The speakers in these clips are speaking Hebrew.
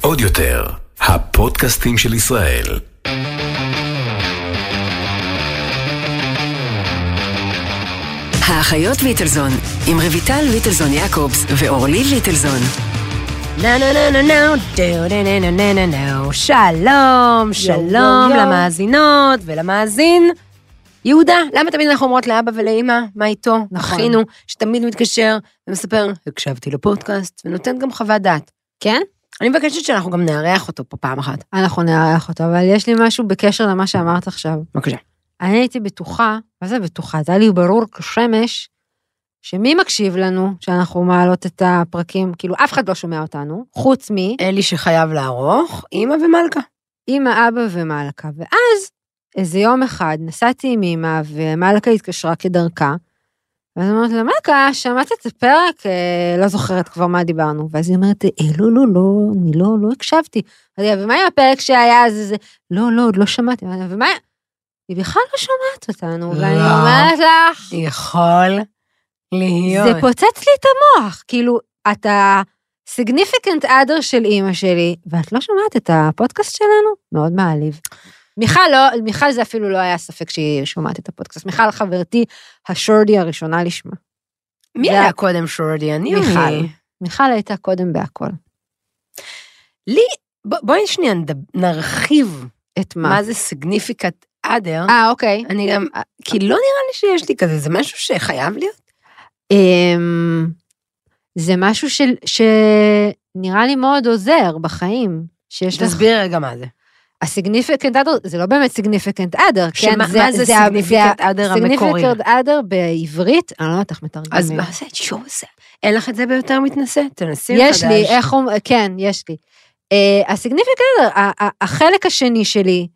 עוד יותר, הפודקאסטים של ישראל. האחיות ליטלזון, עם רויטל ליטלזון יעקובס ואורלי ליטלזון. נו נו נו נו נו, דו נו נו נו נו נו נו, שלום, שלום יו. למאזינות ולמאזין. יהודה, למה תמיד אנחנו אומרות לאבא ולאימא, מה איתו, נכון. אחינו, שתמיד מתקשר ומספר, הקשבתי לפודקאסט, ונותן גם חוות דעת. כן? אני מבקשת שאנחנו גם נארח אותו פה פעם אחת. אנחנו אה, נכון, נארח אותו, אבל יש לי משהו בקשר למה שאמרת עכשיו. בבקשה. אני הייתי בטוחה, מה זה בטוחה? זה היה לי ברור כשמש, שמי מקשיב לנו שאנחנו מעלות את הפרקים? כאילו, אף אחד לא שומע אותנו, חוץ אלי שחייב לערוך, אימא ומלכה. מאמא, אבא ומלכה. ואז, איזה יום אחד, נסעתי עם אמא, ומלכה התקשרה כדרכה, ואז אמרתי לה, מלכה, שמעת את הפרק? אה, לא זוכרת כבר מה דיברנו. ואז היא אומרת, אה, לא, לא, לא, אני לא, לא הקשבתי. אמרתי לה, ומה עם הפרק שהיה? זה, זה, לא, לא, עוד לא שמעתי. אמרתי לה, ומה... היא בכלל לא שומעת אותנו, ואני לא. אומרת לך, יכול להיות. זה פוצץ לי את המוח. כאילו, אתה סיגניפיקנט אדר של אימא שלי, ואת לא שומעת את הפודקאסט שלנו? מאוד מעליב. מיכל לא, מיכל זה אפילו לא היה ספק שהיא שומעת את הפודקאסט. מיכל חברתי, השורדי הראשונה לשמה. מי זה- היה קודם שורדי? אני או מיכל. היא? מיכל הייתה קודם בהכל. לי, ב- בואי שנייה נדב- נרחיב את מה? מה זה סיגניפיקט אדר. אה, אוקיי. אני גם, כי לא נראה לי שיש לי כזה, זה משהו שחייב להיות. אמ, זה משהו של, שנראה לי מאוד עוזר בחיים. שיש לך... תסבירי רגע מה זה. הסיגניפיקנט אדר, זה לא באמת סיגניפיקנט אדר, כן? שמה- מה זה ה- סיגניפיקט אדר המקורי? סיגניפיקנט אדר בעברית, אני לא יודעת איך מתרגמים. אז מה זה שוב זה? אין לך את זה ביותר מתנשא? תנסי מחדש. יש לי, איך אומרים, כן, יש לי. אה, הסיגניפיקנט אדר, ה- ה- החלק השני שלי,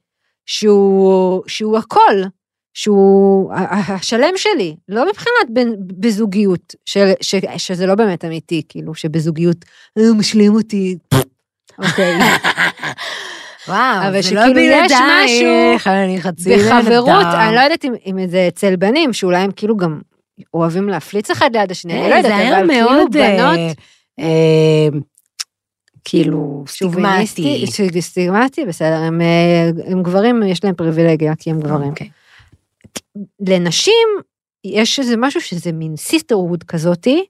שהוא שהוא הכל, שהוא ה- ה- השלם שלי, לא מבחינת בן- בזוגיות, של- ש- שזה לא באמת אמיתי, כאילו, שבזוגיות, "אה, הוא משלים אותי, אוקיי. וואו, אבל זה לא שכאילו יש בלעדייך, אני חצי בן בחברות, אדם. אני לא יודעת אם, אם זה אצל בנים, שאולי הם כאילו גם אוהבים להפליץ אחד ליד השני, אני לא אה, זה היה יודעת, אבל כאילו מאוד, אה, בנות, אה, כאילו, סטיגמטי. שוביניסטי, ש- סטיגמטי, בסדר, הם, אה, הם גברים, יש להם פריבילגיה, כי הם גברים. אוקיי. לנשים, יש איזה משהו שזה מין סיסטרהוד כזאתי,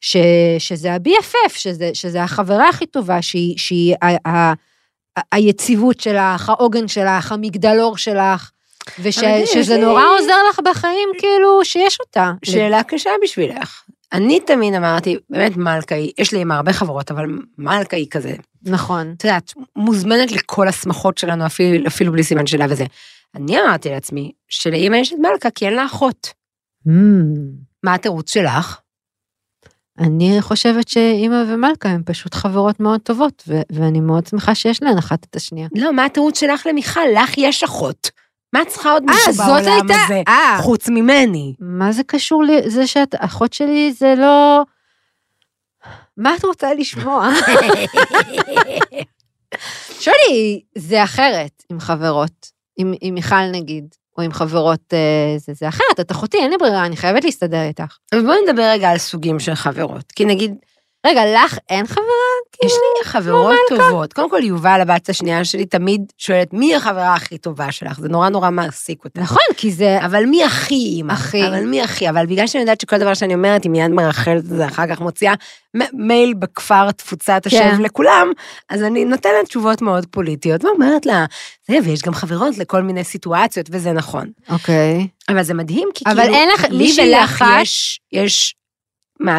ש, שזה ה-BFF, שזה, שזה החברה הכי טובה, שהיא, שהיא ה, ה, ה, היציבות שלך, העוגן שלך, המגדלור שלך, אבל זה- ושזה זה- נורא עוזר לך בחיים, כאילו, שיש אותה. שאלה קשה בשבילך. אני תמיד אמרתי, באמת מלכה היא, יש לי עם הרבה חברות, אבל מלכה היא כזה, נכון. את יודעת, מוזמנת לכל השמחות שלנו, אפילו, אפילו בלי סימן שאלה וזה. אני אמרתי לעצמי, שלאימא יש את מלכה כי אין לה אחות. מה התירוץ שלך? Hmm, אני חושבת שאימא ומלכה הן פשוט חברות מאוד טובות, ו- ואני מאוד שמחה שיש להן אחת את השנייה. לא, מה התירוץ שלך למיכל? לך יש אחות. מה את צריכה עוד אה, מישהו זאת בעולם הייתה... הזה? אה, חוץ ממני. מה זה קשור לזה שאת אחות שלי? זה לא... מה את רוצה לשמוע? שולי, זה אחרת עם חברות, עם, עם מיכל נגיד, או עם חברות, אה, זה, זה אחרת, את אחותי, אין לי ברירה, אני חייבת להסתדר איתך. אבל בואי נדבר רגע על סוגים של חברות. כי נגיד, רגע, לך אין חברה? יש לי חברות טובות. קודם כל, יובל, הבת השנייה שלי, תמיד שואלת, מי החברה הכי טובה שלך? זה נורא נורא מעסיק אותה. נכון, כי זה... אבל מי הכי אימא? הכי. אבל מי הכי? אבל בגלל שאני יודעת שכל דבר שאני אומרת, היא מיד מרחלת את זה, אחר כך מוציאה מ- מייל בכפר תפוצה תשב כן. לכולם, אז אני נותנת תשובות מאוד פוליטיות, ואומרת לה, זה, ויש גם חברות לכל מיני סיטואציות, וזה נכון. אוקיי. אבל זה מדהים, כי אבל כאילו, אין לך- לי מישהי ולך אחת- יש, יש, מה,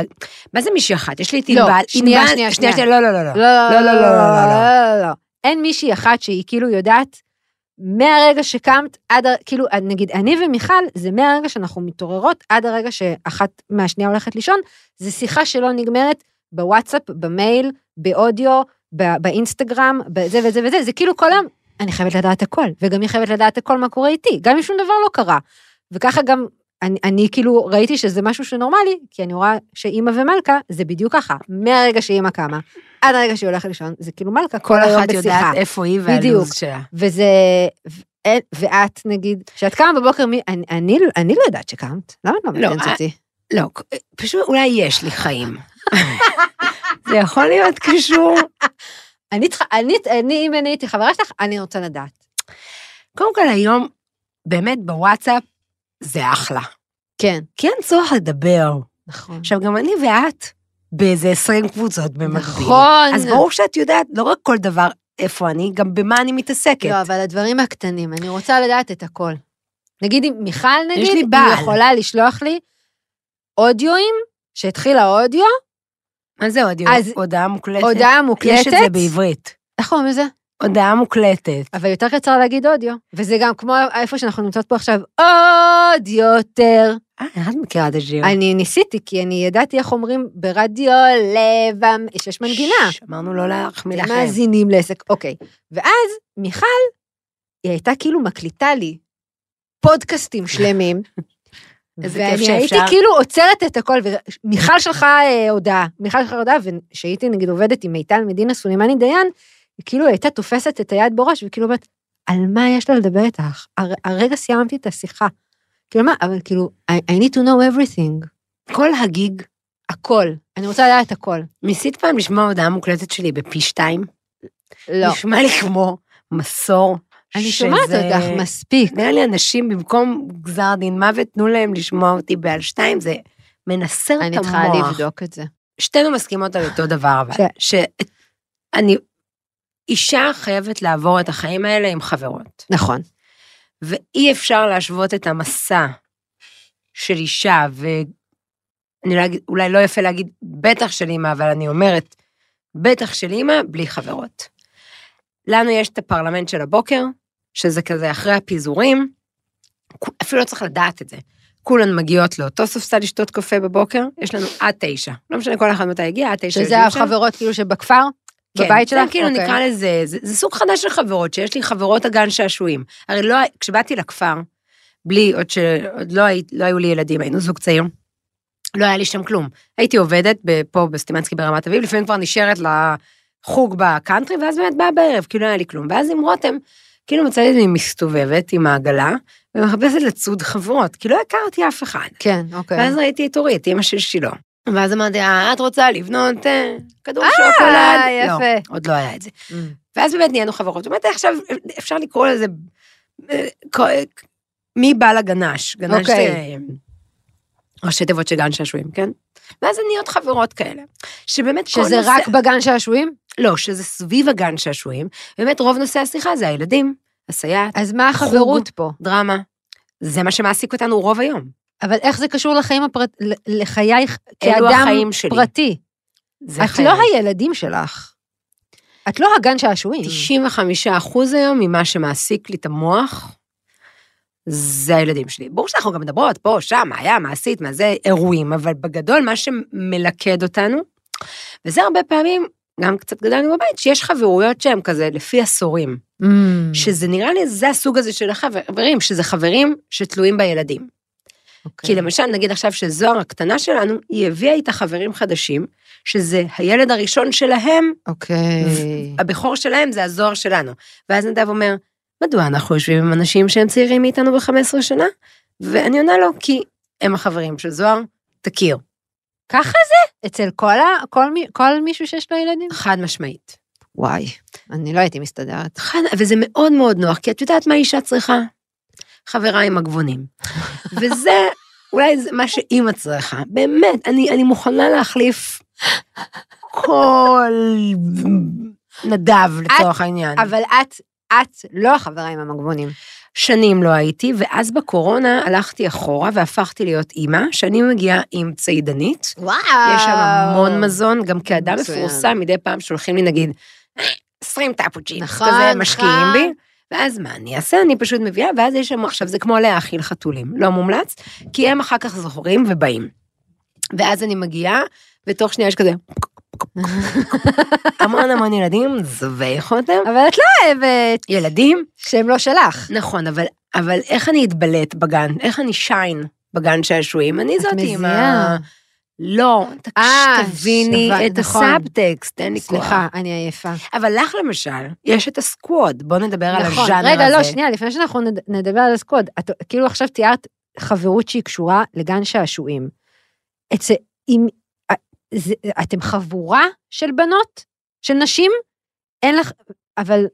מה זה מישהי אחת? יש לי את לא, ענבל, שנייה, ענבל- שנייה, שנייה. שנייה, לא, לא, לא, לא. לא, לא, לא, לא, לא, לא, לא. אין מישהי אחת שהיא כאילו יודעת מהרגע שקמת עד, ה- כאילו, נגיד, אני ומיכל, זה מהרגע שאנחנו מתעוררות עד הרגע שאחת מהשנייה הולכת לישון, זה שיחה שלא נגמרת בוואטסאפ, במייל, באודיו, ב- באינסטגרם, בזה וזה וזה, זה כאילו כל היום, אני חייבת לדעת הכל, וגם היא חייבת לדעת הכל מה קורה איתי, גם אם שום דבר לא קרה. וככה גם, אני, אני כאילו ראיתי שזה משהו שנורמלי, כי אני רואה שאימא ומלכה זה בדיוק ככה, מהרגע שאימא קמה, עד הרגע שהיא הולכת לישון, זה כאילו מלכה כל כל היום אחת בשיחה. יודעת איפה היא בדיוק. והלו"ז שלה. וזה, ו- אין- ואת נגיד, כשאת קמה בבוקר, מי, אני, אני, אני לא יודעת שקמת, למה את לא לא, מעניינת אה, אותי? לא, פשוט אולי יש לי חיים. זה זה יכול להיות קשור. אני צריכה, אני, אני, אם אני הייתי חברה שלך, אני רוצה לדעת. קודם כל, היום, באמת בוואטסאפ, זה אחלה. כן, כי אין צורך לדבר. נכון. עכשיו, גם אני ואת באיזה 20 קבוצות במקביל. נכון. אז ברור שאת יודעת לא רק כל דבר איפה אני, גם במה אני מתעסקת. לא, אבל הדברים הקטנים, אני רוצה לדעת את הכל. נגיד אם מיכל, נגיד, לי היא בעל. יכולה לשלוח לי אודיואים, שהתחיל האודיו, מה זה אודיו? אז- הודעה מוקלטת. הודעה מוקלטת. יש את זה בעברית. איך קוראים לזה? הודעה מוקלטת. אבל יותר קצר להגיד אודיו. וזה גם כמו איפה שאנחנו נמצאות פה עכשיו, עוד יותר. אה, את מכירה את השיר. אני ניסיתי, כי אני ידעתי איך אומרים ברדיו לבם, שיש מנגינה. ש- אמרנו לא להחמיא אתם לכם. מאזינים לעסק, אוקיי. ואז מיכל, היא הייתה כאילו מקליטה לי פודקאסטים שלמים. איזה כיף ואני הייתי שאפשר. כאילו עוצרת את הכל, ומיכל שלחה אה, הודעה, מיכל שלחה הודעה, ושהייתי נגיד עובדת עם מיטל מדינה סולימני דיין, היא כאילו הייתה תופסת את היד בראש, וכאילו אומרת, על מה יש לה לדבר איתך? הר- הרגע סיימתי את השיחה. כאילו מה, אבל כאילו, I, I need to know everything, כל הגיג. הכל. אני רוצה לדעת הכל. ניסית פעם לשמוע הודעה מוקלטת שלי בפי שתיים? לא. נשמע לי כמו מסור. אני שומעת שזה- אותך מספיק. נראה לי אנשים, במקום גזר דין מוות, תנו להם לשמוע אותי בעל שתיים, זה מנסר את המוח. אני צריכה לבדוק כן. את זה. שתינו מסכימות על אותו דבר, אבל. שאני... אישה חייבת לעבור את החיים האלה עם חברות, נכון. ואי אפשר להשוות את המסע של אישה, ואני לא אגיד, אולי לא יפה להגיד בטח של אימא, אבל אני אומרת, בטח של אימא בלי חברות. לנו יש את הפרלמנט של הבוקר, שזה כזה אחרי הפיזורים, כו- אפילו לא צריך לדעת את זה. כולן מגיעות לאותו ספסל לשתות קפה בבוקר, יש לנו עד תשע. לא משנה כל אחת מתי הגיעה, עד תשע. שזה יושבים שם. החברות כאילו שבכפר? בבית כן, שלך? זה כאילו אוקיי. נקרא לזה, זה, זה סוג חדש של חברות, שיש לי חברות הגן שעשועים. הרי לא, כשבאתי לכפר, בלי, עוד שעוד לא, היית- לא היו לי ילדים, היינו זוג צעיר, לא היה לי שם כלום. הייתי עובדת ב- פה בסטימנסקי ברמת אביב, לפעמים כבר נשארת לחוג בקאנטרי, ואז באמת באה בערב, כאילו לא היה לי כלום. ואז עם רותם, כאילו מצאתי את עצמי מסתובבת עם העגלה, ומחפשת לצוד חברות, כי לא הכרתי אף אחד. כן, אוקיי. ואז ראיתי את אורית, אימא של שילה. ואז אמרתי לה, את רוצה לבנות אה, כדור שוקולד? אה, לא, יפה. עוד לא היה את זה. Mm. ואז באמת נהיינו חברות. באמת עכשיו אפשר לקרוא לזה, אה, כ- מי בא לגנש? גנש זה אוקיי. אה, ראשי תיבות של גן שעשועים, כן? ואז זה נהיות חברות כאלה. שבאמת כל שזה נושא... רק בגן שעשועים? לא, שזה סביב הגן שעשועים. באמת רוב נושא השיחה זה הילדים, הסייעת, אז מה חוג. החברות פה? דרמה. זה מה שמעסיק אותנו רוב היום. אבל איך זה קשור לחיים הפרט... ל- לחייך אלו כאדם החיים שלי. פרטי? זה את חיי. לא הילדים שלך. את לא הגן שעשועים. 95% היום ממה שמעסיק לי את המוח, זה הילדים שלי. ברור שאנחנו גם מדברות פה, שם, מה היה, מה עשית, מה זה, אירועים, אבל בגדול מה שמלכד אותנו, וזה הרבה פעמים, גם קצת גדלנו בבית, שיש חברויות שהן כזה לפי עשורים. Mm, שזה נראה לי, זה הסוג הזה של החברים, שזה חברים שתלויים בילדים. אוקיי. כי למשל, נגיד עכשיו שזוהר הקטנה שלנו, היא הביאה איתה חברים חדשים, שזה הילד הראשון שלהם אוקיי. הבכור שלהם זה הזוהר שלנו. ואז נדב אומר, מדוע אנחנו יושבים עם אנשים שהם צעירים מאיתנו ב-15 שנה? ואני עונה לו, כי הם החברים של זוהר, תכיר. ככה זה? אצל כל ה- כל מי- כל מישהו שיש לו ילדים? חד משמעית. וואי, אני לא הייתי מסתדרת. חד, וזה מאוד מאוד נוח, כי את יודעת מה אישה צריכה? חברה עם הגבונים. וזה אולי זה מה שאימא צריכה. באמת, אני, אני מוכנה להחליף כל נדב לצורך העניין. אבל את, את לא החברה עם המגבונים. שנים לא הייתי, ואז בקורונה הלכתי אחורה והפכתי להיות אימא, שאני מגיעה עם צידנית. וואו. יש שם המון מזון, גם כאדם מצוין. מפורסם, מדי פעם שולחים לי נגיד 20 טאפוצ'ים, נכון, כזה משקיעים נכון. בי. ואז מה אני אעשה? אני פשוט מביאה, ואז יש שם, עכשיו זה כמו להאכיל חתולים, לא מומלץ, כי הם אחר כך זוכרים ובאים. ואז אני מגיעה, ותוך שנייה יש כזה המון המון ילדים, זווי חותם, אבל את לא אוהבת ילדים, שהם לא שלך. נכון, אבל, אבל איך אני אתבלט בגן? איך אני שיין בגן שעשועים? אני זאת עם ה... לא, תקש- אה, תביני שווה- את נכון. הסאבטקסט, אין לי כוח. סליחה, אני עייפה. אבל לך למשל, יש את הסקווד, בוא נדבר על נכון, הז'אנר הזה. רגע, לא, שנייה, לפני שאנחנו נד- נדבר על הסקוד, את כאילו עכשיו תיארת חברות שהיא קשורה לגן שעשועים. אצל, אם, זה, אתם חבורה של בנות, של נשים, אין לך, אבל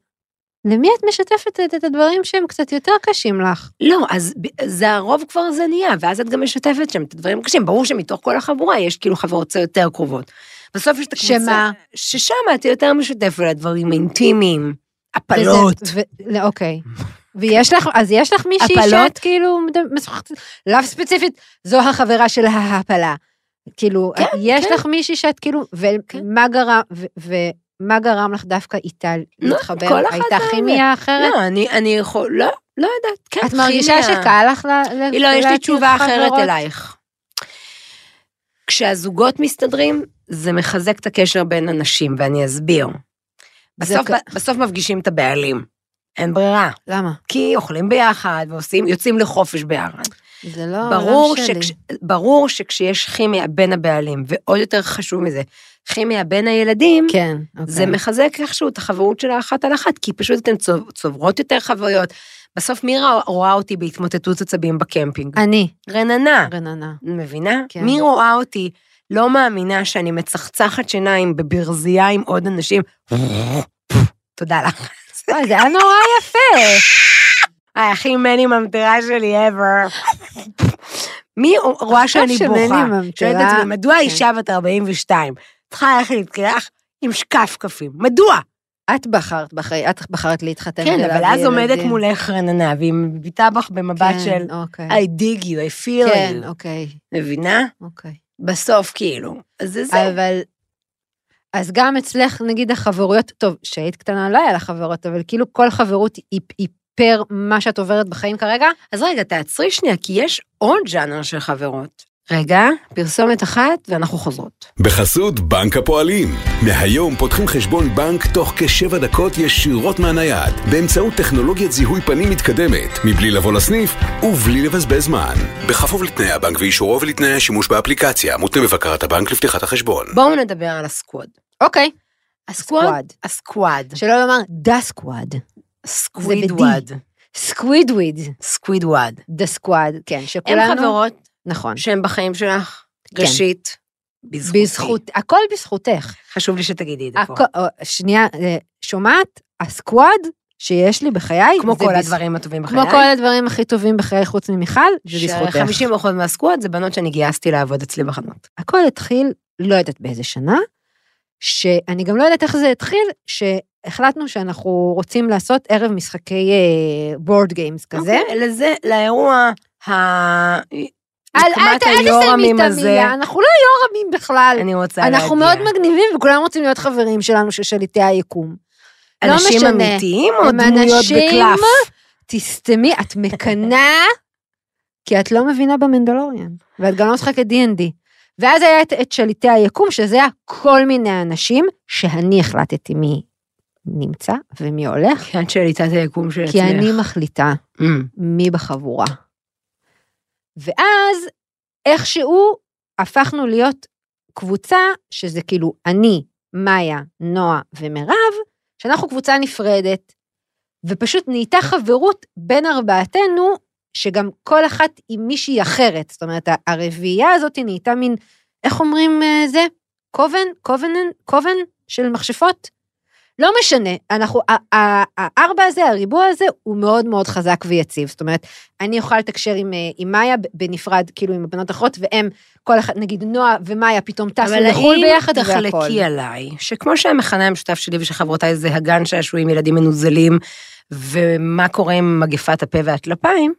למי את משתפת את, את הדברים שהם קצת יותר קשים לך? לא, אז ב- זה הרוב כבר זה נהיה, ואז את גם משתפת שם את הדברים הקשים. ברור שמתוך כל החבורה יש כאילו חברות יותר קרובות. בסוף יש את הקבוצה... שמה? ששם את יותר משותפת לדברים האינטימיים, הפלות. וזה- ו- לא, אוקיי. ויש לך, אז יש לך מישהי הפלות? שאת כאילו, מד- משוחחת- לאו ספציפית, זו החברה של ההפלה. כאילו, כן, יש כן. לך מישהי שאת כאילו, כן. ומה גרם, ו- ומה גרם לך דווקא איתה להתחבר? לא, כל אחת הייתה והאמת. כימיה אחרת? לא, אני, אני יכול... לא, לא יודעת. כן, את מרגישה כימיה. שקל לך ל- ל- היא לא, יש לי להטיל תשובה אחרת חברות? אלייך. כשהזוגות מסתדרים, זה מחזק את הקשר בין אנשים, ואני אסביר. זה בסוף, כ- בסוף מפגישים את הבעלים. אין ברירה. למה? כי אוכלים ביחד ועושים, יוצאים לחופש ביחד. זה לא העולם ברור, שלי. שכש, ברור שכשיש כימיה בין הבעלים, ועוד יותר חשוב מזה, כימיה בין הילדים, כן, אוקיי. זה מחזק איכשהו את החברות של האחת על אחת, כי פשוט אתן צוב- צוברות יותר חוויות. בסוף מירה רואה אותי בהתמוטטות עצבים בקמפינג. אני, רננה, רננה. מבינה? כן. מי רואה אותי לא מאמינה שאני מצחצחת שיניים בברזייה עם עוד אנשים? תודה לך. וואי, זה היה נורא יפה. היי, הכי מני ממטרה שלי ever. מי רואה שאני עכשיו בוכה? שמני ממטרה. כן. שואלת את עצמי, מדוע אישה בת 42 צריכה ללכת להתקלח עם שקפקפים? מדוע? את בחרת בחיי, את בחרת להתחתן כן, אבל ולהביא אז עומדת ילדים. מולך רננה, והיא מביטה בך במבט כן, של אוקיי. I dig you, I feel כן, you. אוקיי, מבינה? אוקיי. בסוף, כאילו. אז זה זה. אבל... אז גם אצלך, נגיד, החברויות, טוב, כשהיית קטנה לא היה לך חברות, אבל כאילו כל חברות היא, היא פר מה שאת עוברת בחיים כרגע. אז רגע, תעצרי שנייה, כי יש עוד ז'אנר של חברות. רגע, פרסומת אחת ואנחנו חוזרות. בחסות בנק הפועלים. מהיום פותחים חשבון בנק תוך כשבע דקות ישירות מהנייד, באמצעות טכנולוגיית זיהוי פנים מתקדמת, מבלי לבוא לסניף ובלי לבזבז זמן. בכפוף לתנאי הבנק ואישורו ולתנאי השימוש באפליקציה, מותנה בבקרת הבנק לפתיחת החשבון. בואו נדבר על הסקווד. אוקיי. הסקווד? הסקווד. שלא לומר דה סקוואד. סקוויד ב-D. וואד. סקוויד וויד. סקוויד וואד. דה סקוואד, כן, הן שכולנו... חברות נכון. שהן בחיים שלך, כן. ראשית, בזכותי. בזכות, הכל בזכותך. חשוב לי שתגידי את זה פה. הכל, או, שנייה, אה, שומעת? הסקוואד שיש לי בחיי, כמו זה כל בז- הדברים הטובים בחיי. כמו כל הדברים הכי טובים בחיי חוץ ממיכל, זה בזכותך. ש-50% מהסקווד זה בנות שאני גייסתי לעבוד אצלי בחנות. הכל התחיל, לא יודעת באיזה שנה, שאני גם לא יודעת איך זה התחיל, שהחלטנו שאנחנו רוצים לעשות ערב משחקי בורד גיימס כזה. אוקיי, לזה, לאירוע ה... אל- אל- כמעט אל תסיימי היורמים את הזה, המילה, אנחנו לא יורמים בכלל. אני רוצה להגיע. אנחנו מאוד מגניבים וכולם רוצים להיות חברים שלנו של שליטי היקום. לא אנשים משנה. אמיתיים או הם דמויות אנשים- בקלף? תסתמי, את מקנאה, כי את לא מבינה במנדלוריאן, ואת גם לא משחקת D&D. ואז היה את, את שליטי היקום, שזה היה כל מיני אנשים שאני החלטתי מי נמצא ומי הולך, כי את שליטת היקום של עצמך. כי אני מחליטה Mm. מי בחבורה. ואז איכשהו הפכנו להיות קבוצה, שזה כאילו אני, מאיה, נועה ומירב, שאנחנו קבוצה נפרדת, ופשוט נהייתה חברות בין ארבעתנו, שגם כל אחת עם מישהי אחרת. זאת אומרת, ה- הרביעייה הזאת נהייתה מין, איך אומרים אה, זה? קובן? קובנן? קובן של מכשפות? לא משנה, אנחנו, ה- ה- הארבע הזה, הריבוע הזה, הוא מאוד מאוד חזק ויציב. זאת אומרת, אני יכולה לתקשר עם, אה, עם מאיה ב- בנפרד, כאילו עם הבנות האחרות, והם, כל אחת, נגיד נועה ומאיה פתאום טסו אבל לחו"ל האם ביחד והכול. תחלקי עליי, שכמו שהמכנה המשותף שלי ושל חברותיי זה הגן שעשועים ילדים מנוזלים, ומה קורה עם מגפת הפה והטלפיים,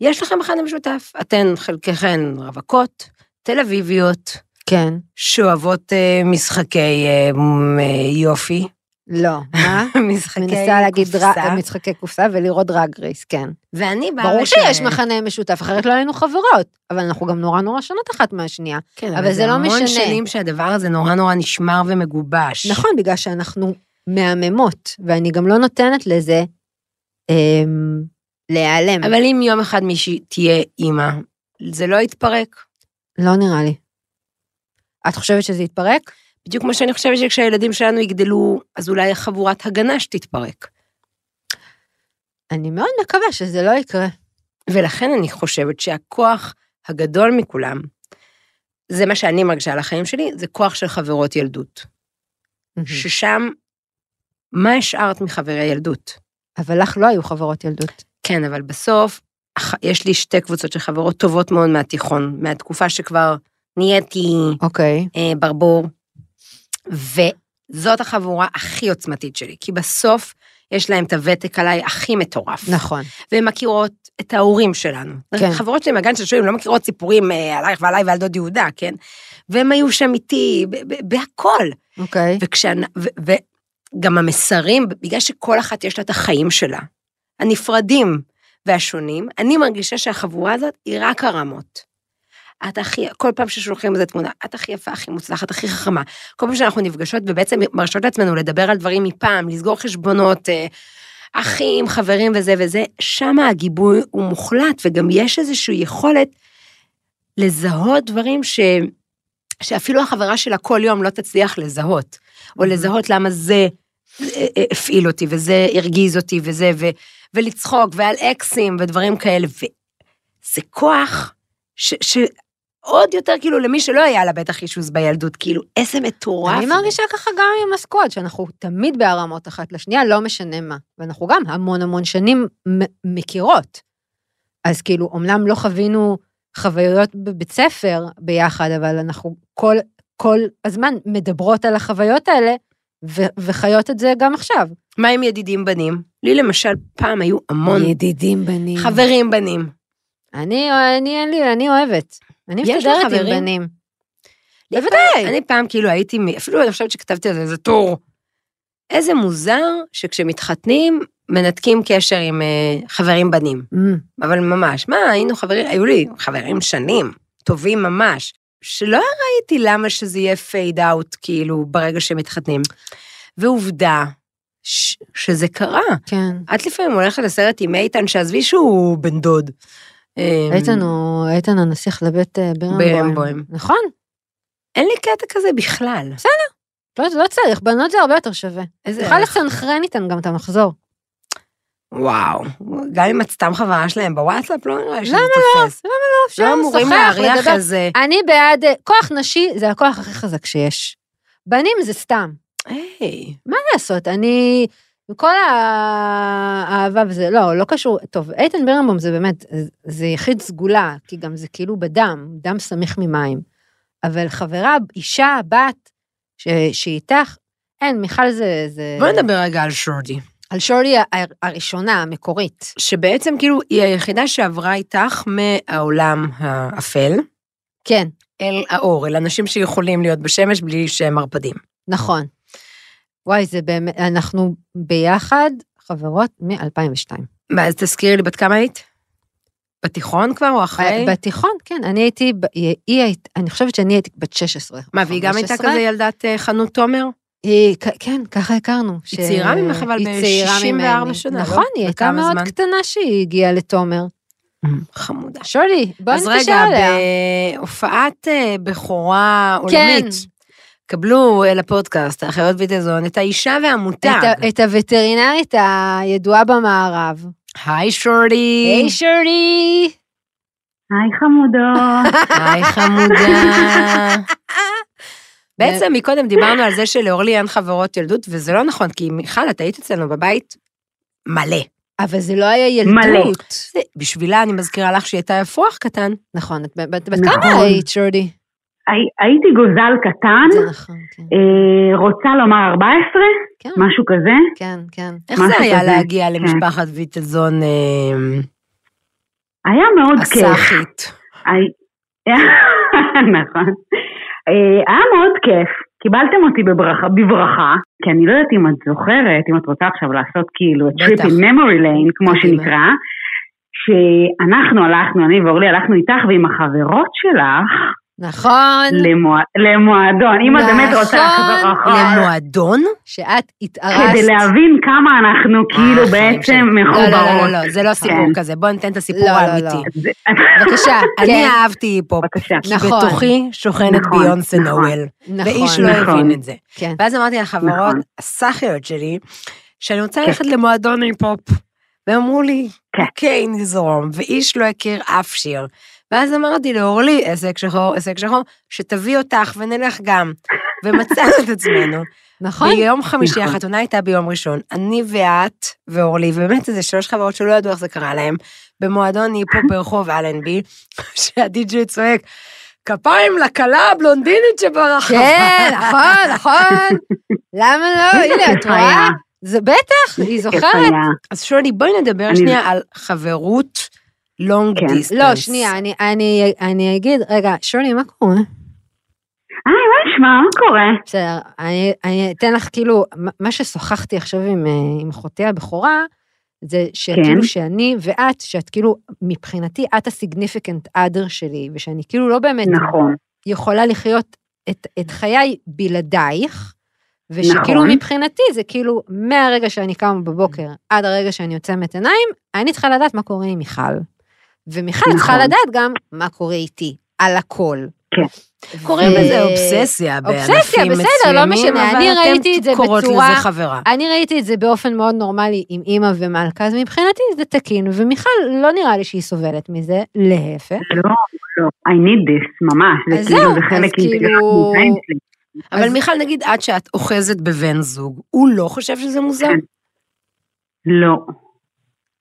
יש לכם מכנה משותף. אתן חלקכן רווקות, תל אביביות, כן. שאוהבות אה, משחקי אה, מ- אה, יופי, לא, מה? משחקי מנסה להגיד קופסה, ר- משחקי קופסה ולראות דרג רייס, כן. ואני באה... ברור לשלם. שיש מכנה משותף, אחרת לא היינו חברות, אבל אנחנו גם נורא נורא שונות אחת מהשנייה. כן, אבל זה לא המון משנה. שנים שהדבר הזה נורא נורא נשמר ומגובש. נכון, בגלל שאנחנו מהממות, ואני גם לא נותנת לזה אמ, להיעלם. אבל אם יום אחד מישהי תהיה אימא, זה לא יתפרק. לא נראה לי. את חושבת שזה יתפרק? בדיוק כמו שאני חושבת שכשהילדים שלנו יגדלו, אז אולי חבורת הגנה שתתפרק. אני מאוד מקווה שזה לא יקרה. ולכן אני חושבת שהכוח הגדול מכולם זה מה שאני מרגישה על החיים שלי, זה כוח של חברות ילדות. ששם, מה השארת מחברי ילדות? אבל לך לא היו חברות ילדות. כן, אבל בסוף, אח- יש לי שתי קבוצות של חברות טובות מאוד מהתיכון, מהתקופה שכבר נהייתי אוקיי. אה, ברבור, וזאת החבורה הכי עוצמתית שלי, כי בסוף יש להם את הוותק עליי הכי מטורף. נכון. והן מכירות את ההורים שלנו. כן. כן. חברות שלי מהגן של שועים לא מכירות סיפורים אה, עלייך ועליי ועל דוד יהודה, כן? והם היו שם איתי ב- ב- בהכל. אוקיי. וכשאנ... ו- וגם המסרים, בגלל שכל אחת יש לה את החיים שלה, הנפרדים והשונים, אני מרגישה שהחבורה הזאת היא רק הרמות. את הכי, כל פעם ששולחים איזה תמונה, את הכי יפה, הכי מוצלחת, הכי חכמה. כל פעם שאנחנו נפגשות ובעצם מרשות לעצמנו לדבר על דברים מפעם, לסגור חשבונות, אה, אחים, חברים וזה וזה, שם הגיבוי הוא מוחלט, וגם יש איזושהי יכולת לזהות דברים ש... שאפילו החברה שלה כל יום לא תצליח לזהות, Mhm. או לזהות למה זה אה, אה, הפעיל אותי, וזה הרגיז אותי, וזה, ו... ולצחוק, ועל אקסים, ודברים כאלה, וזה כוח ש... ש... עוד יותר כאילו למי שלא היה לה בטח אישוס בילדות, כאילו איזה מטורף. אני זה. מרגישה ככה גם עם הסקוואד, שאנחנו תמיד בהרמות אחת לשנייה, לא משנה מה. ואנחנו גם המון המון שנים מ- מכירות. אז כאילו, אמנם לא חווינו חוויות בבית ספר ביחד, אבל אנחנו כל, כל הזמן מדברות על החוויות האלה, ו- וחיות את זה גם עכשיו. מה עם ידידים בנים? לי למשל פעם היו המון ידידים בנים. חברים בנים. אני, אני, אין לי, אני אוהבת. אני יש לך מסתדרת עם חברים? בנים. לי אוקיי. פעם- אני פעם כאילו הייתי, מ- אפילו אני חושבת שכתבתי על זה איזה טור. איזה מוזר שכשמתחתנים, מנתקים קשר עם אה, חברים בנים. אמ, אבל ממש, מה, היינו חברים, היו לי חברים שנים, טובים ממש, שלא ראיתי למה שזה יהיה פייד אאוט, כאילו, ברגע שמתחתנים. ועובדה, ש- שזה קרה. כן. את לפעמים הולכת לסרט עם איתן, שעזבי שהוא בן דוד. אה, איתן הוא, איתן הנסיך לבית אה, בירנבוים. בירנבוים. נכון. אין לי קטע כזה בכלל. לא, זה לא צריך, בנות זה הרבה יותר שווה. איזה צריכה לסנכרן איתן גם את המחזור. וואו, גם אם את סתם חברה שלהם בוואטסאפ, לא נראה לי שזה למה תופס. לא אפשר לא אמורים לשוחח, להריח לדבר. איזה... אני בעד, אה, כוח נשי זה הכוח הכי חזק שיש. בנים זה סתם. היי, מה לעשות, אני... כל האהבה וזה, לא, לא קשור. טוב, איתן בירנבום זה באמת, זה יחיד סגולה, כי גם זה כאילו בדם, דם סמיך ממים. אבל חברה, אישה, בת, ש... שהיא איתך, אין, מיכל זה... זה... בוא נדבר רגע על שורדי, על שורלי ה- הראשונה, המקורית. שבעצם כאילו היא היחידה שעברה איתך מהעולם האפל כן, אל האור, אל אנשים שיכולים להיות בשמש בלי שהם מרפדים. נכון. וואי, זה באמת, אנחנו ביחד חברות מ-2002. מה, אז תזכירי לי בת כמה היית? בתיכון כבר או אחרי? בתיכון, כן, אני הייתי, ב- היא היא הייתה, אני חושבת שאני הייתי בת 16. מה, והיא גם הייתה 15. כזה ילדת אה, חנות תומר? היא, כ- כן, ככה הכרנו. ש- היא צעירה ממך, אבל היא ב- צעירה 64 ממני. שנה, לא? נכון, היא הייתה וכמה מאוד זמן? קטנה שהיא הגיעה לתומר. חמודה. שולי, בואי אז נתקשר רגע, עליה. בהופעת אה, בכורה כן, עולמית, קבלו אה, לפודקאסט, האחיות ויטזון, את האישה והמותג. את ה- את הווטרינרית הידועה במערב. היי שורלי. היי שולי! היי חמודות, היי חמודה. בעצם מקודם דיברנו על זה שלאורלי אין חברות ילדות, וזה לא נכון, כי מיכל, את היית אצלנו בבית מלא. אבל זה לא היה מלא. ילדות. זה- בשבילה אני מזכירה לך שהיא הייתה אפרוח קטן. נכון, את בת- בת בת נכון. כמה היית, שודי? הי- הייתי גוזל קטן, זה נכון, כן. אה, רוצה לומר 14, כן, משהו כזה. כן, כן. איך משהו זה היה כזה, להגיע למשפחת ויטלזון אה, היה מאוד כיף. הסאחית? הי- נכון. אה, היה מאוד כיף. קיבלתם אותי בברכה, בברכה, כי אני לא יודעת אם את זוכרת, אם את רוצה עכשיו לעשות כאילו את בטח. טריפ in memory lane, כמו קדימה. שנקרא, שאנחנו הלכנו, אני ואורלי הלכנו איתך ועם החברות שלך נכון, למוע- למועדון. אם את באמת רוצה נכון. לחזור אחורה. למועדון? שאת התארסת. כדי להבין כמה אה, אנחנו כאילו החיים בעצם שלי. לא, לא, לא, מחוברות. לא, לא, זה לא סיפור כן. כזה, בואו ניתן את לא, הסיפור לא, האמיתי. לא. זה- בבקשה, אני כן, אהבתי היפ-הופ, בבקשה. כי נכון. בתוכי שוכנת נכון, ביונסה נכון. נואל, נכון. ואיש לא נכון. הבין את זה. כן. ואז אמרתי לחברות נכון. הסאחיות שלי, שאני רוצה ללכת למועדון היפ-הופ, והם אמרו לי, כן. אוקיי, נזרום, ואיש לא הכיר אף שיר. ואז אמרתי לאורלי, עסק שחור, עסק שחור, שתביא אותך ונלך גם. ומצאנו את עצמנו. נכון? ביום חמישי, נכון. החתונה הייתה ביום ראשון. אני ואת ואורלי, ובאמת איזה שלוש חברות שלא ידעו איך זה קרה להם, במועדון היפו ברחוב אלנבי, שהדי-ג'י צועק, כפיים לכלה הבלונדינית שברחבה. כן, נכון, נכון. למה לא? הנה, את איך היה? רואה? זה בטח, היא איך זוכרת. היה? אז שולי, בואי נדבר אני- שנייה על חברות לונג כן. דיסטנס. לא, שנייה, אני- אני- אני אגיד, רגע, שולי, מה קורה? אה, מה נשמע? מה קורה? בסדר, אני, אני אתן לך כאילו, מה- מה ששוחחתי עכשיו עם, אה, עם אחותי הבכורה, זה שכאילו כן. שאני ואת, שאת כאילו, מבחינתי, את הסיגניפיקנט אדר שלי, ושאני כאילו לא באמת נכון. יכולה לחיות את, את חיי בלעדייך, ושכאילו נכון. מבחינתי זה כאילו, מהרגע שאני קמה בבוקר עד הרגע שאני עוצמת עיניים, אני צריכה לדעת מה קורה עם מיכל. ומיכל נכון. צריכה לדעת גם מה קורה איתי, על הכל. כן. קוראים ו- לזה אובססיה אובססיה, בענפים בסדר, מסוימים, לא משנה, אבל אני אתם ראיתי את זה קוראות בצורה- לזה חברה. אני ראיתי את זה באופן מאוד נורמלי עם אימא ומלכה, אז מבחינתי זה תקין, ומיכל לא נראה לי שהיא סובלת מזה, להפך. לא, לא. I need this, ממש. אז זה כאילו, זהו, זה אז חלק כאילו- מהחיים שלי. אבל אז- מיכל, נגיד, עד שאת אוחזת בבן זוג, הוא לא חושב שזה מוזר? כן. לא.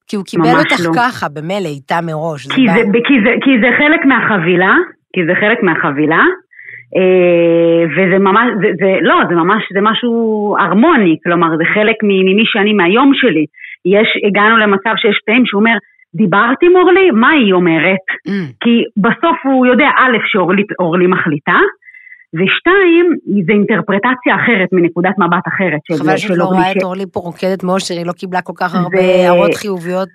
כי הוא קיבל ממש אותך לא. ככה, במילא, איתה מראש. כי בא- זה, כי, זה, כי זה חלק מהחבילה, כי זה חלק מהחבילה, אה, וזה ממש, זה, זה, לא, זה ממש, זה משהו הרמוני, כלומר, זה חלק מ- ממי שאני מהיום שלי. יש, הגענו למצב שיש פעמים שהוא אומר, דיברתי עם אורלי? מה היא אומרת? Mm, כי בסוף הוא יודע, א', שאורלי אורלי מחליטה, ושתיים, זה אינטרפרטציה אחרת, מנקודת מבט אחרת. של- חבל שאת של לא אורלי, רואה ש- את אורלי פה רוקדת מאושר, היא לא קיבלה כל כך הרבה זה- הערות חיוביות.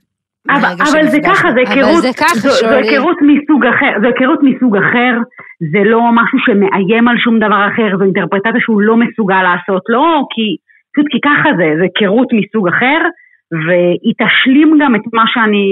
אבל, מהרגע אבל זה שנפגשנו. ככה, זה אבל היכרות, זה ככה, זו- זו שולי. היכרות מסוג אחר, זו היכרות מסוג אחר, זה לא משהו שמאיים על שום דבר אחר, זו אינטרפרטציה שהוא לא מסוגל לעשות, לא כי, פשוט כי ככה זה, זה היכרות מסוג אחר, והיא תשלים גם את מה שאני,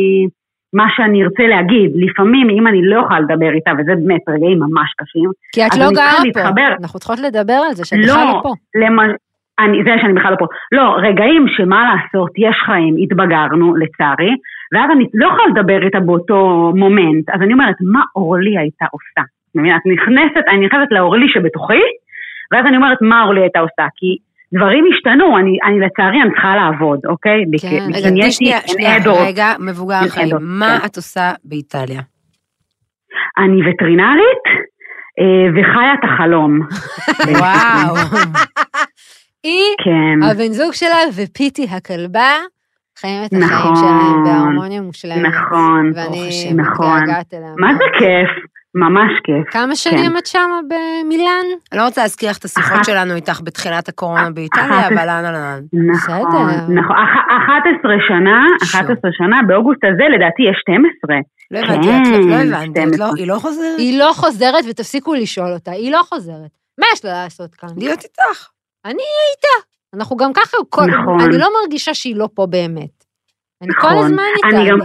מה שאני ארצה להגיד, לפעמים אם אני לא יכולה לדבר איתה, וזה באמת רגעים ממש קשים, כי את אז לא אני צריכה גרה פה, להתחבר. אנחנו צריכות לדבר על זה, שאת לא. בכלל לא פה. למ- אני, זה שאני בכלל לא פה. לא, רגעים שמה לעשות, יש חיים, התבגרנו לצערי, ואז אני לא יכולה לדבר איתה באותו מומנט, אז אני אומרת, מה אורלי הייתה עושה? את מבינה? את נכנסת, אני נכנסת לאורלי שבתוכי, ואז אני אומרת, מה אורלי הייתה עושה? כי דברים השתנו, אני, אני לצערי, אני צריכה לעבוד, אוקיי? בכ- כן. בכ- רגע, תני נהייתי שנייה, an שנייה, adult. רגע, מבוגר An אחראי, adult, מה כן. את עושה באיטליה? אני וטרינרית, אה, וחיה את החלום. וואו. היא, כן. הבן זוג שלה ופיטי הכלבה, חיים את החיים נכון. שלהם בהרמוניה מושלמת. נכון. ברוך ואני השם, נכון. מתגעגעת אליהם. מה זה כיף? כן. ממש כיף. כמה שנים את שמה במילאן? אני לא רוצה להזכיר לך את השיחות אחת- שלנו איתך בתחילת הקורונה באיטליה, אחת- אבל אהלן אהלן. נכון, בסדר. נכון, אח- 11 שנה, 11 שנה, באוגוסט הזה לדעתי יש 12. לא הבנתי, את לא- לא כן, הבנתי, את לא- שתים- היא לא חוזרת? היא לא חוזרת, ותפסיקו לשאול אותה, היא לא חוזרת. מה יש לה לעשות כאן? להיות איתך. אנחנו גם ככה, כל, נכון. אני לא מרגישה שהיא לא פה באמת. אני כל נכון. הזמן איתה. אני גם-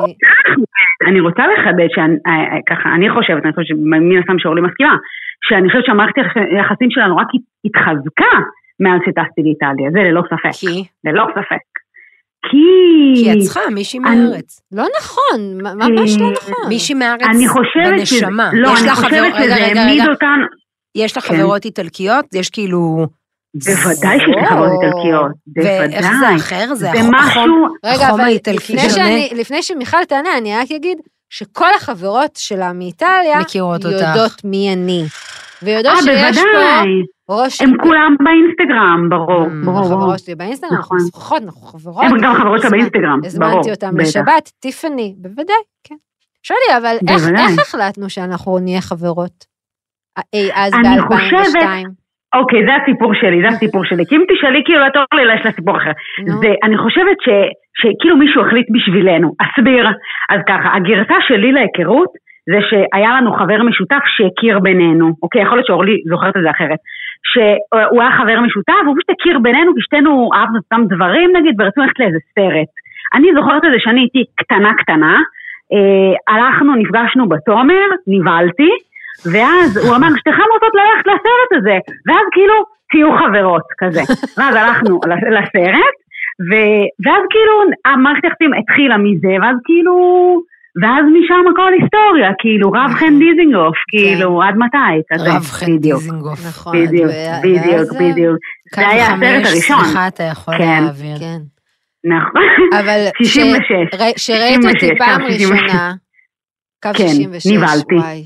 אני רוצה לחדד, שאני- אה, אה, ככה, אני חושבת, אני חושבת שמן הסתם שאורלי מסכימה, שאני חושבת שהמערכת היח- היחסים שלנו רק הת- התחזקה מאז שטסתי לאיטליה, זה ללא ספק, כי? ללא ספק. כי... כי את צריכה מישהי אני- מהארץ. לא נכון, מ- ממש לא אה, נכון. מישהי מהארץ אני חושבת שזה, בנשמה. לא, יש אני לה חבר- חושבת רגע, שזה רגע, העמיד רגע. אותן, יש לך כן. חברות איטלקיות? יש כאילו... בוודאי שזה חברות איטלקיות, ואיך זה בוודאי. אחר? זה זה החום- משהו, רגע, החום אבל האיטלקי לפני, שונה. שאני, לפני שמיכל תענה, אני רק אגיד שכל החברות שלה מאיטליה מכירות אותך. יודעות מי אני. ויודעות אה, שיש פה בוודאי. ראש... הם כולם באינסטגרם, ברור, Mm, ברור, ברור. החברות שלי באינסטגרם, אנחנו נכון. משוחחות, אנחנו חברות. הם גם חברות שלה הזמנ- באינסטגרם, ברור. הזמנתי אותם בטח. לשבת, טיפני, בוודאי, כן. שולי, אבל איך, בוודאי. איך החלטנו שאנחנו נהיה חברות? אי אז אני ב-2002. אוקיי, זה הסיפור שלי, זה הסיפור שלי. כי אם תשאלי כאילו את אורלי, לא, יש לה סיפור אחר. נו, זה, אני חושבת ש, שכאילו מישהו החליט בשבילנו. אסביר. אז ככה, הגרסה שלי להיכרות זה שהיה לנו חבר משותף שהכיר בינינו. אוקיי, יכול להיות שאורלי זוכרת את זה אחרת. שהוא היה חבר משותף, הוא פשוט הכיר בינינו, כי שתינו אהבנו את אותם דברים נגיד, ורצינו ללכת לאיזה סרט. אני זוכרת את זה שאני הייתי קטנה קטנה, אה, הלכנו, נפגשנו בתומר, נבהלתי, ואז הוא אמר, שתיכם רוצות ללכת לסרט הזה, ואז כאילו, תהיו חברות, כזה. ואז הלכנו ל- לסרט, ו... ואז כאילו המערכת היחסים התחילה מזה, ואז כאילו... ואז משם הכל היסטוריה, כאילו רב חן דיזינגוף, כאילו עד מתי, כזה, כן. רב חן בדיוק, דיזינגוף. נכון. בדיוק, ואז- בדיוק, בדיוק, קו זה היה הסרט חמש, הראשון. סליחה, אתה יכול כן. להעביר. כן. נכון, אבל כש- 66. ר- שראית אותי 66, פעם קו 66. ראשונה, קו כן, 66, נבהלתי. וואי.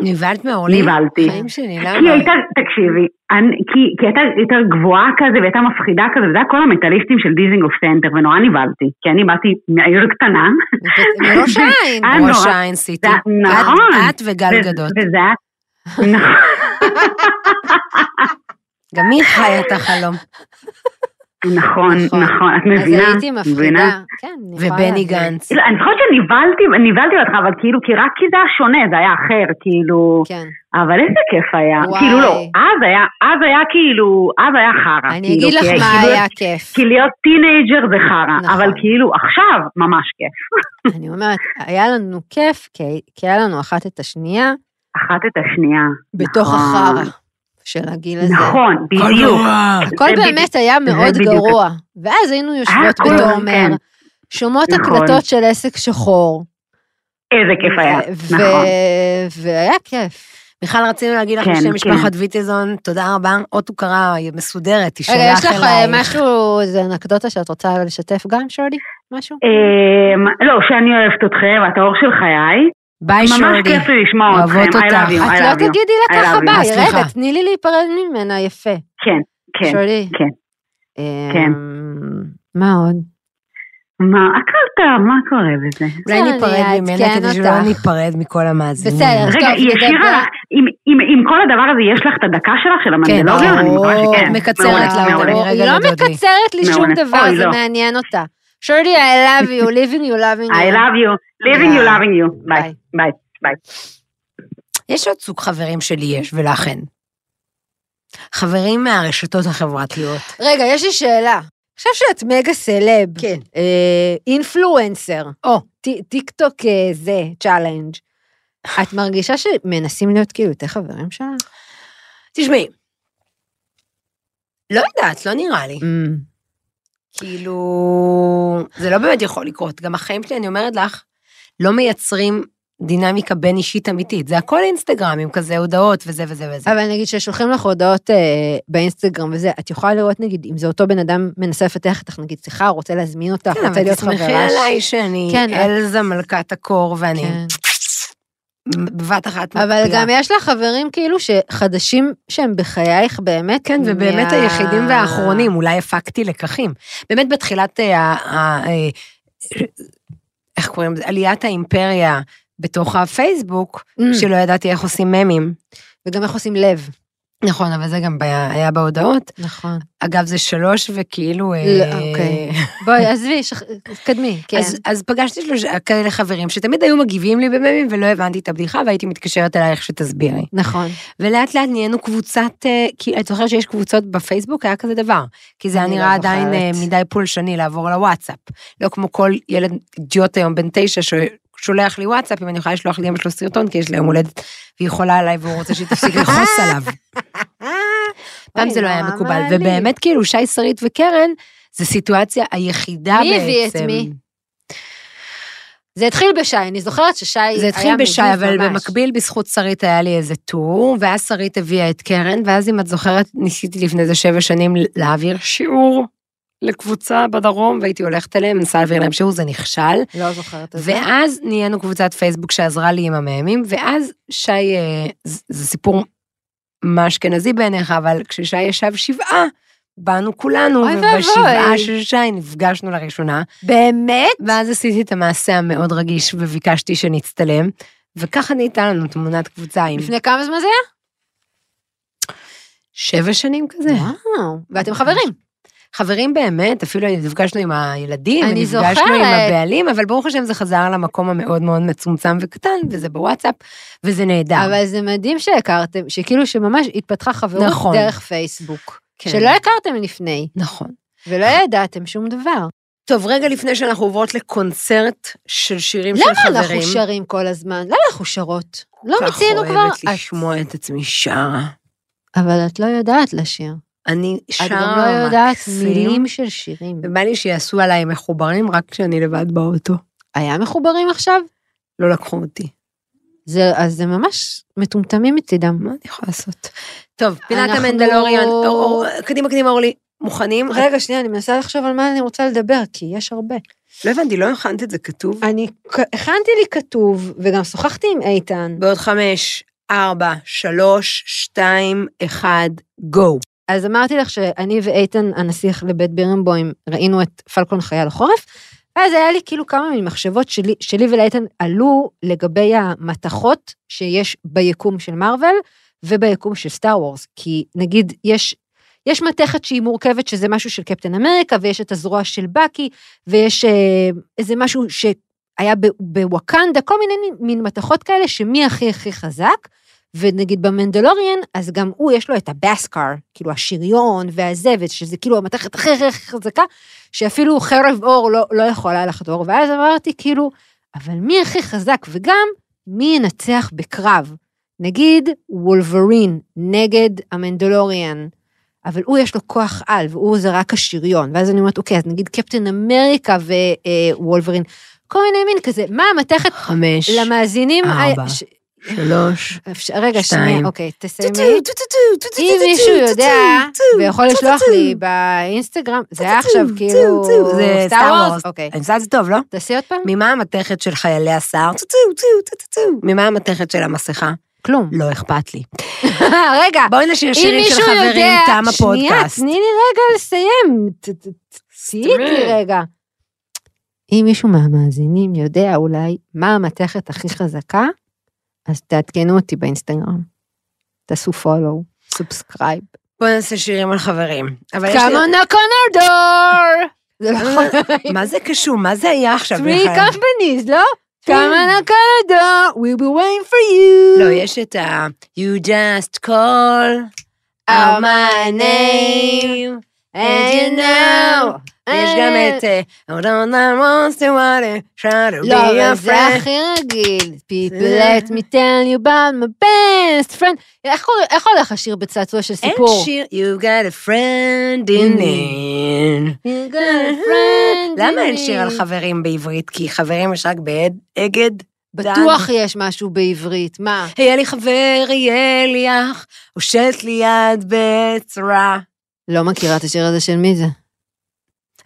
נבהלת מעולים? נבהלתי. חיים שלי, כי למה? הייתה, תקשיבי, אני, כי, כי הייתה יותר גבוהה כזה והייתה מפחידה כזה, וזה היה כל המטאליסטים של דיזינגוף סנטר, ונורא נבהלתי, כי אני באתי מהעיר קטנה, מפת- מראש העין. אה, ראש נורא. העין סיטי. זה- נכון. את את וגל ו- גדות. וזה היה... נכון, גם היא חיה את החלום. נכון, נכון, את אז מבינה, הייתי מבינה. מפחידה. כן, אני יכולה ובני להבין. גנץ. כאילו, אני זוכרת שנבהלתי, נבהלתי בהתחלה, אבל כאילו, כי רק כי זה היה שונה, זה היה אחר, כאילו, כן. אבל איזה כיף היה, וואי. כאילו לא, אז היה, אז היה כאילו, אז היה חרא, אני כאילו, אגיד לך כי- מה כאילו, היה כיף. כי להיות טינג'ר זה חרא, נכון. אבל כאילו עכשיו ממש כיף, אני אומרת, היה לנו כיף, כי- כי היה לנו אחת את השנייה אחת את השנייה. בתוך נכון. החרא של הגיל הזה. נכון, בדיוק. גרוע. הכל זה באמת היה מאוד בדיוק. גרוע. ואז היינו יושבות הכל, בתומר, כן. שומעות נכון. הקלטות של עסק שחור. איזה כיף היה, ו- נכון. והיה כיף. מיכל, רצינו להגיד לך כן, בשם כן. משפחת ויטלזון, תודה רבה. אות הוקרה מסודרת, היא רגע, שלך יש לך אה, אלייך. משהו, איזה אנקדוטה שאת רוצה לשתף גם, שורלי? משהו? אמ, לא, שאני אוהבת אתכם, את האור של חיי. ביי, ממש שולי. כיף לי לשמוע אוהבות אתכם. I אותך. love you, I את love לא you. תגידי I לה ככה love you. ביי, סליחה. רגע, תני לי להיפרד ממנה, יפה. כן, אה, כן. שולי. כן. אה, כן. מה עוד? מה, אכלת, מה קורה בזה? אולי בסדר, ניפרד אני ממנה אעדכן כדי שלא אותך. ניפרד מכל המאזינים. בסדר. רגע, טוב, היא השאירה נדבר. לך, עם- עם- עם כל הדבר הזה יש לך את הדקה שלך, כן, של המנדלוריה? אני ברור. מקווה שכן. מקצרת מעולה, לה אותה, מעולה. אני היא רגע לא לדוד לי. מקצרת לי שום מעולה. דבר, אוי, זה לא. מעניין אותה. שורלי, I love you, living you, loving you. I love you, living you, ביי. loving you. ביי, ביי. ביי, ביי. יש עוד סוג חברים שלי יש, ולך אין. חברים מהרשתות החברתיות. רגע, יש לי שאלה. עכשיו שאת מגה סלב, כן. אה, אינפלואנסר, או. טי- טיק טוק אה, זה, צ'אלנג', את מרגישה שמנסים להיות כאילו יותר חברים שלה? תשמעי, לא יודעת, לא נראה Mm. לי. כאילו, זה לא באמת יכול לקרות. גם החיים שלי, אני אומרת לך, לא מייצרים דינמיקה בין אישית אמיתית. זה הכל אינסטגרמים כזה, הודעות וזה וזה וזה. אבל נגיד ששולחים לך הודעות אה, באינסטגרם וזה, את יכולה לראות נגיד אם זה אותו בן אדם מנסה לפתח איתך, נגיד, סליחה, רוצה להזמין אותך, כן, רוצה אבל להיות חברה. תסמכי ש- עליי שאני כן, את- אלזה מלכת הקור ואני כן. בבת אחת אבל מקפיאה. גם יש לך חברים כאילו שחדשים שהם בחייך באמת. כן, ובאמת מה- היחידים והאחרונים, אולי הפקתי לקחים. באמת בתחילת אה, ה... ה- אה, איך קוראים לזה? עליית האימפריה בתוך הפייסבוק, Mm, שלא ידעתי איך עושים ממים. וגם איך עושים לב. נכון, אבל זה גם היה היה בהודעות. נכון. אגב, זה שלוש וכאילו... אה, לא, אוקיי. בואי, עזבי, שח- תתקדמי, כן. אז, אז פגשתי שלושה כאלה חברים שתמיד היו מגיבים לי בממים ולא הבנתי את הבדיחה והייתי מתקשרת אלייך שתסבירי. נכון. ולאט לאט נהיינו קבוצת, אה, כי את זוכרת שיש קבוצות בפייסבוק, היה כזה דבר. כי זה היה אני לא נראה עדיין אה, זוכרת. מדי פולשני לעבור לוואטסאפ. לא כמו כל ילד אידיוט היום בן תשע ששולח לי וואטסאפ, אם אני יכולה לשלוח לאמא שלו סרטון, כי יש לה יום הולדת, והיא חולה עליי והוא רוצה שהיא תפסיק לכעוס עליו. אה, פעם אוי, זה לא היה נורא מקובל. מעליב. ובאמת, כאילו, שי שרית וקרן, זו סיטואציה היחידה בעצם. מי הביא את מי? זה התחיל בשי, אני זוכרת ששי היה מגיב ממש. זה התחיל בשי, אבל במקביל בזכות שרית היה לי איזה טור, ואז שרית הביאה את קרן, ואז אם את זוכרת, ניסיתי לפני איזה שבע שנים להעביר שיעור לקבוצה בדרום, והייתי הולכת אליהם, מנסה להעביר להם שיעור, זה נכשל. לא זוכרת את זה. ואז נהיינו קבוצת פייסבוק שעזרה לי עם המאמים, ואז שי, אה, זה- זה סיפור מה אשכנזי בעיניך, אבל כששי ישב שבעה, באנו כולנו, אוי ואבוי. ובשבעה של שי נפגשנו לראשונה. באמת? ואז עשיתי את המעשה המאוד רגיש וביקשתי שנצטלם, וככה נהייתה לנו תמונת קבוצה עם לפני כמה זמן זה היה? שבע שנים כזה. וואו. ואתם חברים. חברים באמת, אפילו נפגשנו עם הילדים, אני ונפגשנו זוכרת. עם הבעלים, אבל ברוך השם זה חזר למקום המאוד מאוד מצומצם וקטן, וזה בוואטסאפ, וזה נהדר. אבל זה מדהים שהכרתם, שכאילו שממש התפתחה חברות נכון. דרך פייסבוק. כן. שלא הכרתם לפני, נכון. ולא ידעתם שום דבר. טוב, רגע לפני שאנחנו עוברות לקונצרט של שירים של למה חברים. אנחנו שרים כל הזמן? למה אנחנו שרות? לא כל כך מיצינו כבר... אוהבת לשמוע את עצמי שרה. אבל את לא יודעת לשיר. אני את שרה גם לא יודעת מקסים, מילים של שירים. ובא לי שיעשו עליי מחוברים רק כשאני לבד באוטו. היה מחוברים עכשיו? לא לקחו אותי. זה, אז זה ממש מטומטמים מצידם. מה אני יכולה לעשות? טוב, פינת אנחנו- המנדלוריאן, אור- אור- קדימה קדימה אורלי, מוכנים? רגע, שנייה, אני מנסה לחשוב על מה אני רוצה לדבר, כי יש הרבה. לא הבנתי, לא הכנת את זה כתוב? אני ק- הכנתי לי כתוב, וגם שוחחתי עם איתן. בעוד חמש, ארבע, שלוש, שתיים, אחד, גו. אז אמרתי לך שאני ואיתן הנסיך לבית בירנבוים ראינו את פלקון חייל החורף, ואז היה לי כאילו כמה ממחשבות שלי, שלי ולאיתן עלו לגבי המתכות שיש ביקום של מארוול וביקום של סטאר וורס, כי נגיד יש... יש מתכת שהיא מורכבת, שזה משהו של קפטן אמריקה, ויש את הזרוע של בקי, ויש אה, איזה משהו שהיה ב- בוואקנדה, כל מיני מין- מין מתכות כאלה, שמי הכי הכי חזק, ונגיד במנדלוריאן, אז גם הוא, יש לו את הבאסקר, כאילו השריון והזבת, שזה כאילו המתכת הכי הכי הכי חזקה, שאפילו חרב אור לא, לא יכולה לחדור, ואז אמרתי כאילו, אבל מי הכי חזק, וגם מי ינצח בקרב? נגיד וולברין נגד המנדלוריאן, אבל הוא יש לו כוח על, והוא זה רק השריון, ואז אני אומרת, אוקיי, אז נגיד קפטן אמריקה ווולברין, כל מיני מין כזה, מה המתכת חמש, למאזינים? ה- ארבע. ש- שלוש. אפשר- רגע, שתיים. שנייה, אוקיי, תסיימי. אם מישהו יודע ויכול לשלוח לי באינסטגרם, זה היה עכשיו כאילו... זה סטאר סטאר וורס? וורס. אוקיי. אני עושה את זה טוב, לא? תעשי עוד פעם? ממה המתכת של חיילי השר? ממה המתכת של המסכה? כלום. לא אכפת לי. רגע, בואי נשאיר אם שירים של מישהו חברים, יודע... תם שנייה, הפודקאסט. תני לי רגע לסיים. ת- ת- ת- תהיי איתי רגע. אם מישהו מהמאזינים יודע אולי מה המתכת הכי חזקה, אז תעדכנו אותי באינסטגרם. תעשו follow, סובסקרייב. בואי נעשה שירים על חברים. אבל יש לי- אה, קאמון הקונרדור! זה לא יכול מה זה קשור? מה זה היה עכשיו? three מיכאל? companies, לא? כמה נקדה, we'll be waiting for לא, you. יש את ה... You just call out my name. and you know. יש גם את... אה, I don't know what's the water, try to לא, be אבל a זה friend. הכי רגיל. People let me tell you about my best friend. איך קורא- איך הולך השיר בצעצוע של אין סיפור? שיר, you got a friend in me. You got a friend למה אין in שיר על me. חברים בעברית? כי חברים יש רק באגד. בטוח יש משהו בעברית, מה? היה לי חבר, יהיה לי אח, הושט לי יד בצרה. לא מכירה את השיר הזה של מי זה?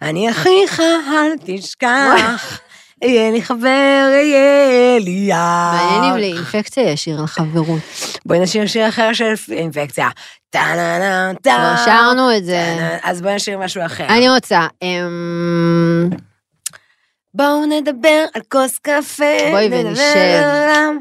אני אחיך, אל תשכח. יהיה לי חבר, יהיה לי מעניין אם אח. לאינפקציה יש שיר על חברות. בואי נשאיר שיר אחר של אינפקציה. טה-נה-נה, טה. כבר שרנו לא את זה. טה-נה. אז בואי נשאיר משהו אחר. אני רוצה, אמ... בואו נדבר על כוס קפה. בואי נדבר ונשב. על העולם.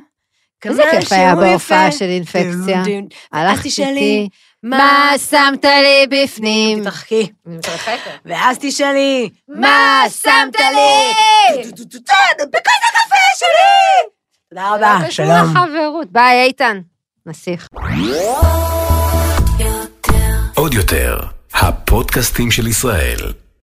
איזה כמה כיף היה שהוא בהופעה יפה. של אינפקציה. דו, דו. הלכת תשאלי, איתי, מה מה שמת לי בפנים? תתרחקי. אני מתרחקת. ואז תשאלי, מה שמת לי? טו, טו, טו, טו, בכוס הקפה כן, שלי! לא תודה רבה, קשור שלום. לחברות. ביי, איתן. נסיך. עוד יותר, הפודקאסטים של ישראל.